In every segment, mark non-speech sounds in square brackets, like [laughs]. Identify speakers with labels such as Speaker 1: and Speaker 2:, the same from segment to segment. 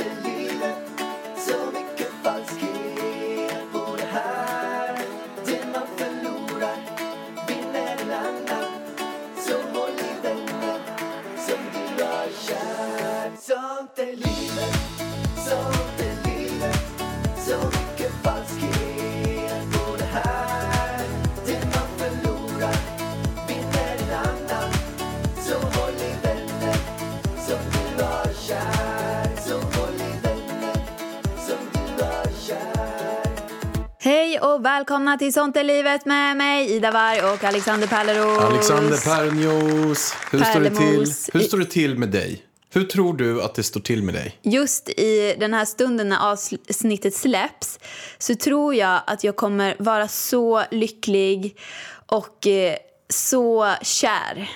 Speaker 1: är livet Så mycket falskhet på det här Det man förlorar vinner en annan Så håll i vännen som du har kär Sånt är livet, sånt är livet Så mycket falskhet på det här Det man förlorar vinner en annan Så håll i vännen som du har kär Så håll i vännen som du har kär
Speaker 2: Hej och välkomna till Sånt är livet med mig, Ida Warg och Alexander Pärleros.
Speaker 3: Alexander Pärnros, hur, står det till?
Speaker 2: Pärlemos.
Speaker 3: hur står det till med dig? Hur tror du att det står till med dig?
Speaker 2: Just i den här stunden när avsnittet släpps så tror jag att jag kommer vara så lycklig och eh, så kär.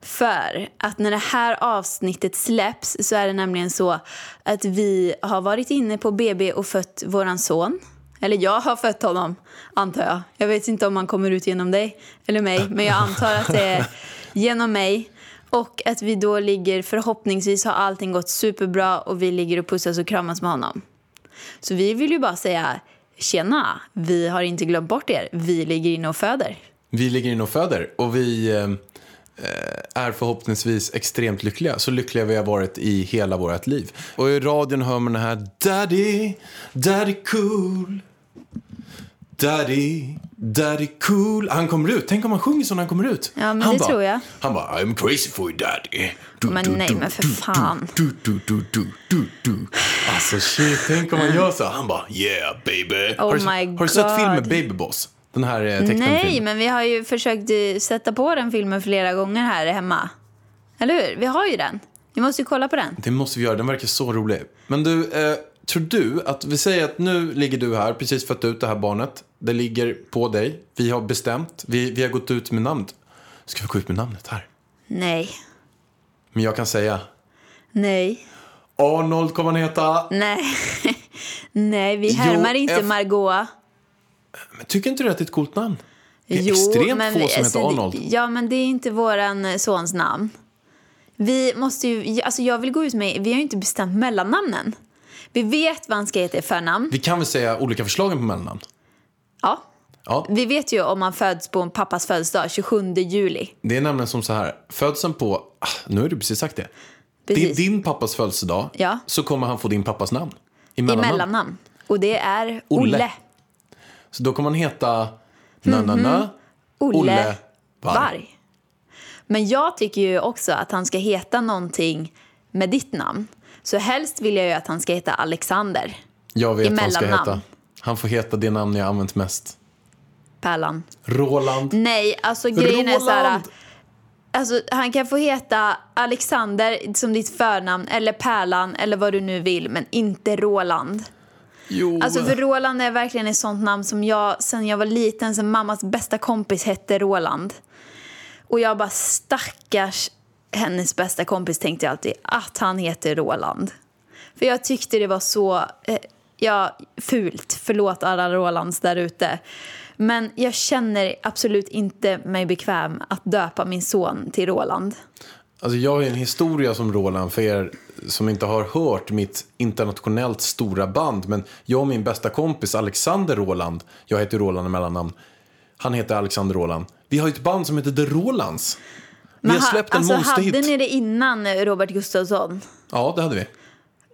Speaker 2: För att när det här avsnittet släpps så är det nämligen så att vi har varit inne på BB och fött våran son. Eller jag har fött honom, antar jag. Jag vet inte om han kommer ut genom dig eller mig, men jag antar att det är genom mig. Och att vi då ligger, förhoppningsvis har allting gått superbra och vi ligger och pussas och kramas med honom. Så vi vill ju bara säga tjena, vi har inte glömt bort er, vi ligger inne och föder.
Speaker 3: Vi ligger inne och föder och vi eh, eh, är förhoppningsvis extremt lyckliga. Så lyckliga vi har varit i hela vårt liv. Och i radion hör man den här Daddy, Daddy cool. Daddy, Daddy cool. Han kommer ut. Tänk om han sjunger så när han kommer ut.
Speaker 2: Ja, men
Speaker 3: han
Speaker 2: det
Speaker 3: bara,
Speaker 2: tror jag.
Speaker 3: Han bara, I'm crazy for you daddy. Du,
Speaker 2: Men nej, men för fan.
Speaker 3: Du, du, du, du, du, du. Alltså shit, tänk om han gör så. Han bara yeah baby.
Speaker 2: Oh
Speaker 3: har, du,
Speaker 2: my
Speaker 3: har du sett
Speaker 2: God.
Speaker 3: filmen Baby Boss? Den här eh, tecknade
Speaker 2: Nej,
Speaker 3: filmen.
Speaker 2: men vi har ju försökt eh, sätta på den filmen flera gånger här hemma. Eller hur? Vi har ju den. Vi måste ju kolla på den.
Speaker 3: Det måste vi göra, den verkar så rolig. Men du, eh, tror du att, vi säger att nu ligger du här, precis fött ut det här barnet. Det ligger på dig, vi har bestämt, vi, vi har gått ut med namnet. Ska vi gå ut med namnet här?
Speaker 2: Nej,
Speaker 3: Men jag kan säga,
Speaker 2: nej,
Speaker 3: Arnold kommer han heta.
Speaker 2: nej. [laughs] nej, vi
Speaker 3: Jo,
Speaker 2: härmar inte
Speaker 3: eff-
Speaker 2: Margot.
Speaker 3: Men tycker inte du att det är ett coolt namn? Det är extremt få som
Speaker 2: alltså,
Speaker 3: heter
Speaker 2: det-
Speaker 3: Arnold.
Speaker 2: Ja, men det är inte våran eh, sons namn. Vi måste ju, alltså jag vill gå ut med, vi har ju inte bestämt mellannamnen. Vi vet vad han ska heta i förnamn.
Speaker 3: Vi kan väl säga olika förslagen på mellannamn?
Speaker 2: Ja.
Speaker 3: Ja,
Speaker 2: Vi vet ju om han föds på en pappas födelsedag, 27 juli.
Speaker 3: det är nämligen som så här. Födseln på, ah, nu har du precis sagt det. Det är
Speaker 2: Precis.
Speaker 3: din pappas födelsedag,
Speaker 2: Ja.
Speaker 3: så kommer han få din pappas namn. I
Speaker 2: I
Speaker 3: mellannamn.
Speaker 2: mellannamn. Och det är
Speaker 3: Olle.
Speaker 2: Olle.
Speaker 3: Så då kommer han heta na-na-na,
Speaker 2: Mhm. Olle
Speaker 3: Olle Varg.
Speaker 2: Varg. Men jag tycker ju också att han ska heta någonting med ditt namn. Så helst vill jag ju att han ska heta Alexander.
Speaker 3: Jag
Speaker 2: I
Speaker 3: vet vad han ska
Speaker 2: mellannamn.
Speaker 3: heta. Han får heta det namn jag använt mest.
Speaker 2: Pärlan.
Speaker 3: Roland.
Speaker 2: Nej, alltså grejen är så här...
Speaker 3: Roland!
Speaker 2: Alltså, han kan få heta Alexander som ditt förnamn eller Pärlan eller vad du nu vill, men inte Roland.
Speaker 3: Jo.
Speaker 2: Alltså för Roland är verkligen ett sånt namn som jag sen jag var liten, sen mammas bästa kompis hette Roland. Och jag bara stackars hennes bästa kompis tänkte jag alltid att han heter Roland. För jag tyckte det var så, eh, ja, fult. Förlåt alla Rolands där ute. Men jag känner absolut inte mig bekväm att döpa min son till Roland.
Speaker 3: Alltså jag har ju en historia som Roland för er som inte har hört mitt internationellt stora band. Men jag och min bästa kompis Alexander Roland, jag heter Roland i mellannamn, han heter Alexander Roland. Vi har ju ett band som heter The Rolands. Vi har
Speaker 2: ha-
Speaker 3: släppt en
Speaker 2: alltså,
Speaker 3: monsterhit.
Speaker 2: hade ni det innan eh, Robert Gustafsson?
Speaker 3: Ja, det hade vi.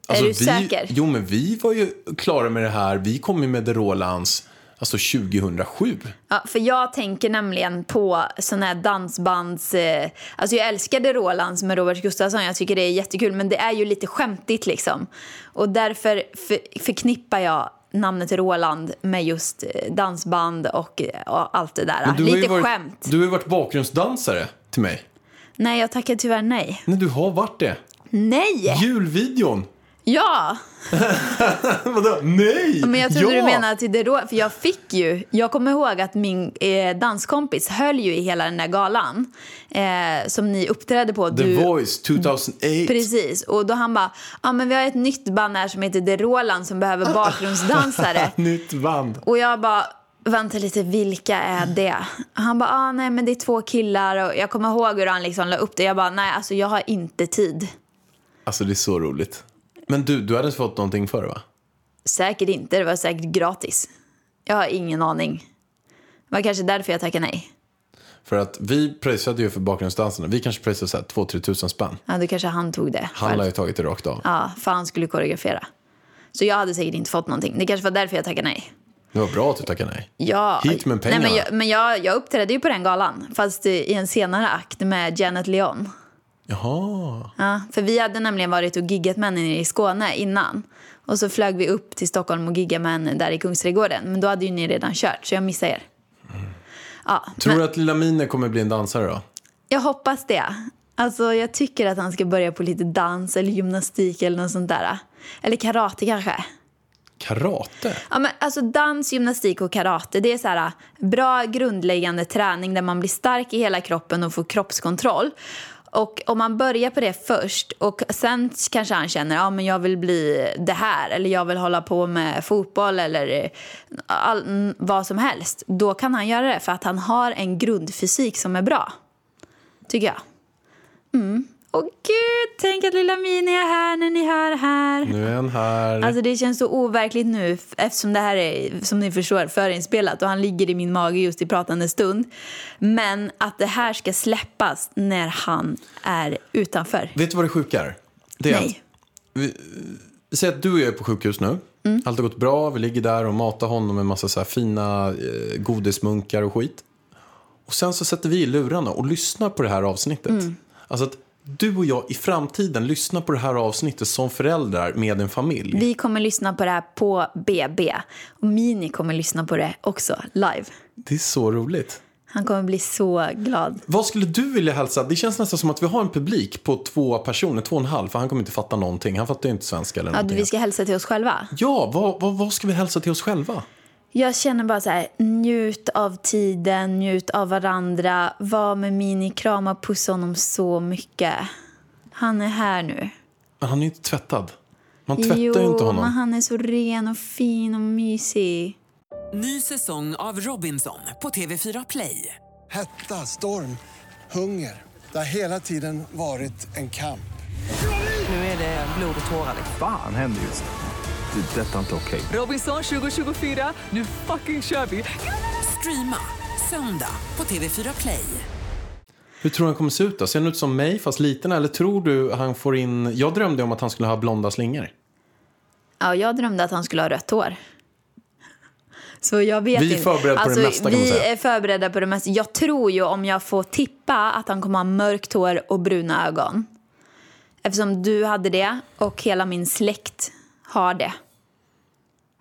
Speaker 3: Alltså,
Speaker 2: du
Speaker 3: vi,
Speaker 2: säker?
Speaker 3: Jo, men vi var ju klara med det här. Vi kom ju med The Rolands alltså 2007.
Speaker 2: Ja, för jag tänker nämligen på sån här dansbands... Eh, alltså jag älskade Rolands med Robert Gustafsson, jag tycker det är jättekul. Men det är ju lite skämtigt liksom. Och därför för, förknippar jag namnet Roland med just eh, dansband och, eh, och allt det där.
Speaker 3: Men du har ju
Speaker 2: lite
Speaker 3: varit,
Speaker 2: skämt.
Speaker 3: Du har ju varit bakgrundsdansare till mig.
Speaker 2: Nej, jag tackar tyvärr nej.
Speaker 3: Nej, du har varit det.
Speaker 2: Nej!
Speaker 3: Julvideon. [laughs]
Speaker 2: Ja,
Speaker 3: Vadå? Nej!
Speaker 2: men jag trodde
Speaker 3: ja!
Speaker 2: du menade till det då, för jag fick ju, jag kommer ihåg att min eh, danskompis höll ju i hela den där galan eh, som ni uppträdde på.
Speaker 3: The
Speaker 2: du,
Speaker 3: Voice 2008.
Speaker 2: Precis, och då han bara, ja men vi har ett nytt band här som heter The Roland som
Speaker 3: Ah.
Speaker 2: behöver bakgrundsdansare.
Speaker 3: [laughs] Nytt band.
Speaker 2: Och jag bara, vänta lite, vilka är det? Han bara, ah, nej men det är två killar och jag kommer ihåg hur han liksom la upp det. Jag bara, nej alltså jag har inte tid.
Speaker 3: Alltså det är så roligt. Men du, du hade inte fått någonting för det, va?
Speaker 2: Säkert inte, det var säkert gratis. Jag har ingen aning. Det var kanske därför jag tackade nej.
Speaker 3: För att vi pröjsade ju för bakgrundsdansarna. Vi kanske pröjsade så här 2-3 tusen spänn.
Speaker 2: Ja, då kanske han tog det
Speaker 3: Han har
Speaker 2: själv.
Speaker 3: ju tagit det rakt av.
Speaker 2: Ja, för han skulle koreografera. Så jag hade säkert inte fått någonting. Det kanske var därför jag tackade nej.
Speaker 3: Det var bra att du tackade nej.
Speaker 2: Ja.
Speaker 3: Hit med pengarna.
Speaker 2: Nej, men jag, men jag, jag uppträdde ju på den galan, fast i en senare akt med Janet Leon.
Speaker 3: Jaha.
Speaker 2: Ja, för vi hade nämligen varit och giggat med henne i Skåne innan. Och så flög vi upp till Stockholm och giggade med henne där i Kungsträdgården. Men då hade ju ni redan kört, så jag missade er. Ja,
Speaker 3: Tror
Speaker 2: men
Speaker 3: du att Lilla Mine kommer bli en dansare då?
Speaker 2: jag hoppas det. Alltså, jag tycker att han ska börja på lite dans eller gymnastik eller något sånt där. Eller karate kanske.
Speaker 3: Karate?
Speaker 2: Ja, men alltså dans, gymnastik och karate det är så här, äh, bra grundläggande träning där man blir stark i hela kroppen och får kroppskontroll. Och om man börjar på det först och sen kanske han känner ja, men jag vill bli det här eller jag vill hålla på med fotboll eller äh, all, mm, vad som helst. Då kan han göra det för att han har en grundfysik som är bra. Tycker jag. Mm. Och gud, tänk att lilla Mini är här när ni hör det här.
Speaker 3: Nu är han här.
Speaker 2: Alltså det känns så overkligt nu f- eftersom det här är som ni förstår förinspelat och han ligger i min mage just i pratande stund. Men att det här ska släppas när han är utanför.
Speaker 3: Vet du vad det sjuka är? Det är att
Speaker 2: Nej.
Speaker 3: Säg att du och jag är på sjukhus nu.
Speaker 2: Mm.
Speaker 3: Allt har gått bra. Vi ligger där och matar honom med massa så här fina eh, godismunkar och skit. Och sen så sätter vi i lurarna och lyssnar på det här avsnittet.
Speaker 2: Mm.
Speaker 3: Alltså att du och jag i framtiden lyssnar på det här avsnittet som föräldrar med en familj.
Speaker 2: Vi kommer lyssna på det här på BB och Mini kommer lyssna på det också live.
Speaker 3: Det är så roligt.
Speaker 2: Han kommer bli så glad.
Speaker 3: Vad skulle du vilja hälsa? Det känns nästan som att vi har en publik på två personer, två och en halv, för han kommer inte fatta någonting. Han fattar ju inte svenska eller
Speaker 2: Att
Speaker 3: någonting.
Speaker 2: vi ska hälsa till oss själva.
Speaker 3: Ja, vad, vad, vad ska vi hälsa till oss själva?
Speaker 2: Jag känner bara så här, njut av tiden, njut av varandra. Var med Mini, krama och pussa honom så mycket. Han är här nu.
Speaker 3: Men han är ju inte tvättad. Man tvättar ju inte honom.
Speaker 2: men han är så ren och fin och mysig.
Speaker 4: Ny säsong av Robinson på TV4 Play.
Speaker 5: Hetta, storm, hunger. Det har hela tiden varit en kamp.
Speaker 4: Nu är det blod och tårar. liksom.
Speaker 6: Fan händer just det. Det är detta inte okej.
Speaker 4: Robinson 2024, nu fucking kör vi! Streama söndag på TV4 Play.
Speaker 3: Hur tror du han kommer se ut då? Ser han ut som mig fast liten eller tror du han får in... Jag drömde om att han skulle ha blonda slingor.
Speaker 2: Ja, jag drömde att han skulle ha rött hår. Så jag vet
Speaker 3: Vi är
Speaker 2: inte. Alltså,
Speaker 3: förberedda på det mesta, kan man
Speaker 2: Vi
Speaker 3: säga.
Speaker 2: är förberedda på det mesta. Jag tror ju om jag får tippa att han kommer ha mörkt hår och bruna ögon. Eftersom du hade det och hela min släkt har det.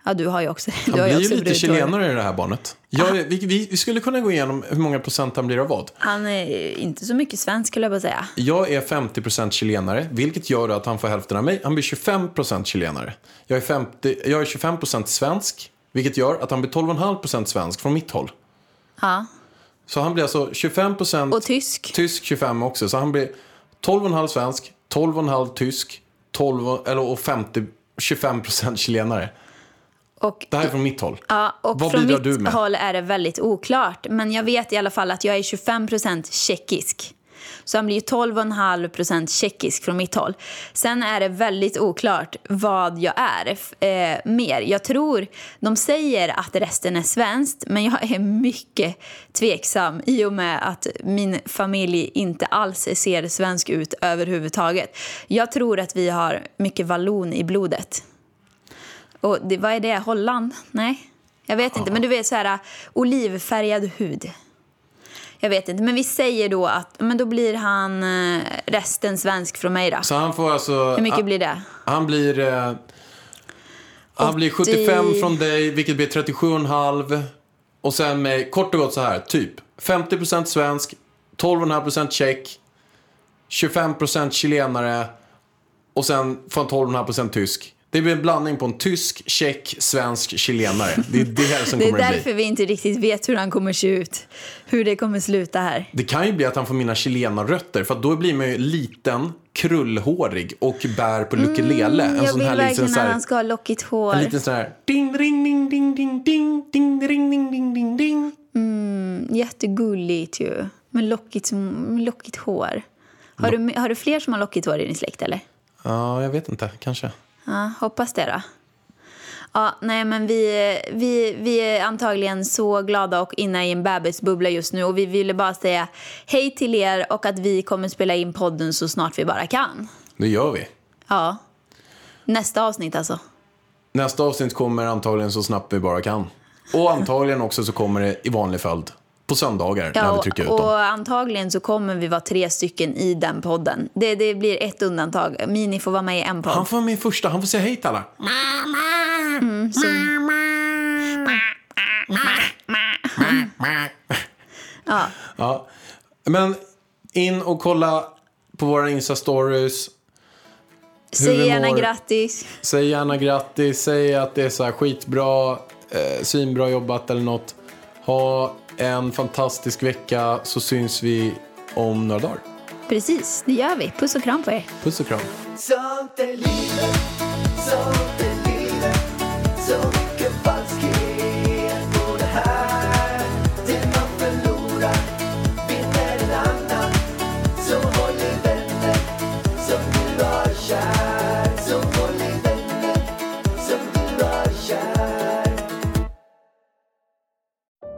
Speaker 2: Ja, du har ju också [laughs] du
Speaker 3: Han
Speaker 2: har
Speaker 3: blir ju
Speaker 2: också
Speaker 3: lite
Speaker 2: brunt hår.
Speaker 3: chilenare i det här barnet. Jag,
Speaker 2: Ah.
Speaker 3: vi, vi, vi skulle kunna gå igenom hur många procent han blir av vad.
Speaker 2: Han är inte så mycket svensk skulle jag bara säga.
Speaker 3: Jag är 50% chilenare, vilket gör att han får hälften av mig. Han blir 25% chilenare. Jag är, 50, jag är 25% svensk, vilket gör att han blir 12,5% svensk från mitt håll.
Speaker 2: Ja.
Speaker 3: Så han blir alltså 25%
Speaker 2: Och tysk.
Speaker 3: tysk 25 också. Så han blir 12,5 svensk, 12,5 tysk 12, och- eller, och 50, 25% chilenare.
Speaker 2: Och
Speaker 3: Det här är från mitt håll.
Speaker 2: Ja, och
Speaker 3: Vad
Speaker 2: från
Speaker 3: bidrar
Speaker 2: mitt
Speaker 3: du med?
Speaker 2: håll är det väldigt oklart. Men jag vet i alla fall att jag är 25 tjeckisk. Så han blir ju 12,5 tjeckisk från mitt håll. Sen är det väldigt oklart vad jag är f- eh, mer. Jag tror de säger att resten är svenskt, men jag är mycket tveksam i och med att min familj inte alls ser svensk ut överhuvudtaget. Jag tror att vi har mycket vallon i blodet. Och det, vad är det? Holland? Nej, jag vet inte. Men du vet så här olivfärgad hud. Jag vet inte, men vi säger då att men då blir han eh, resten svensk från mig då.
Speaker 3: Så han får alltså...
Speaker 2: Hur mycket
Speaker 3: han,
Speaker 2: blir det?
Speaker 3: han blir... Eh, han blir
Speaker 2: 80.
Speaker 3: 75 från dig, vilket blir 37,5. Och sen med, kort och gott så här, typ 50% svensk, 12,5% tjeck, 25% chilenare Och sen får han 12,5% tysk. Det blir en blandning på en tysk, tjeck, svensk, chilenare. Det är det här
Speaker 2: [laughs]
Speaker 3: som
Speaker 2: Det är
Speaker 3: kommer att
Speaker 2: därför
Speaker 3: bli.
Speaker 2: vi inte riktigt vet hur han kommer se ut. Hur det kommer sluta här.
Speaker 3: Det kan ju bli att han får mina chilenarrötter för att då blir man ju liten, krullhårig och bär på ukulele. en
Speaker 2: Mm, Jag
Speaker 3: sån
Speaker 2: vill
Speaker 3: här liten
Speaker 2: verkligen
Speaker 3: så
Speaker 2: att
Speaker 3: här,
Speaker 2: han ska ha lockigt hår.
Speaker 3: en liten sån här ding ding ding ding ding ding ding ding ding ding ding ding.
Speaker 2: Jättegulligt ju. Med lockigt, med lockigt hår. Har, du, har du fler som har lockigt hår i din släkt eller?
Speaker 3: Ja, jag vet inte, kanske.
Speaker 2: Ja, hoppas det då. Ja, nej men vi, vi, vi är antagligen så glada och inne i en bebisbubbla just nu och vi ville bara säga hej till er och att vi kommer spela in podden så snart vi bara kan.
Speaker 3: Det gör vi.
Speaker 2: Ja. Nästa avsnitt alltså.
Speaker 3: Nästa avsnitt kommer antagligen så snabbt vi bara kan. Och antagligen också så kommer det i vanlig följd på söndagar när vi
Speaker 2: Ja,
Speaker 3: trycker ut
Speaker 2: och,
Speaker 3: dem.
Speaker 2: och antagligen så kommer vi vara tre stycken i den podden. Det, det blir ett undantag. Mini får vara med i en podd.
Speaker 3: Han får vara med i första, han får säga hej till alla.
Speaker 2: Mm,
Speaker 3: Ja. Men in och kolla på våra Insta-stories. hur vi
Speaker 2: Säg gärna
Speaker 3: mår.
Speaker 2: grattis.
Speaker 3: Säg gärna grattis, säg att det är så här skitbra, eh, svinbra jobbat eller något. Ha en fantastisk vecka så syns vi om några dagar.
Speaker 2: Precis, det gör vi. Puss och kram på er.
Speaker 3: Puss och kram.
Speaker 1: Sånt är livet, sånt är livet Så mycket falskhet på det här Det man förlorar vinner en annan Så håll i vänner som du har kär Så håll i vänner som du har kär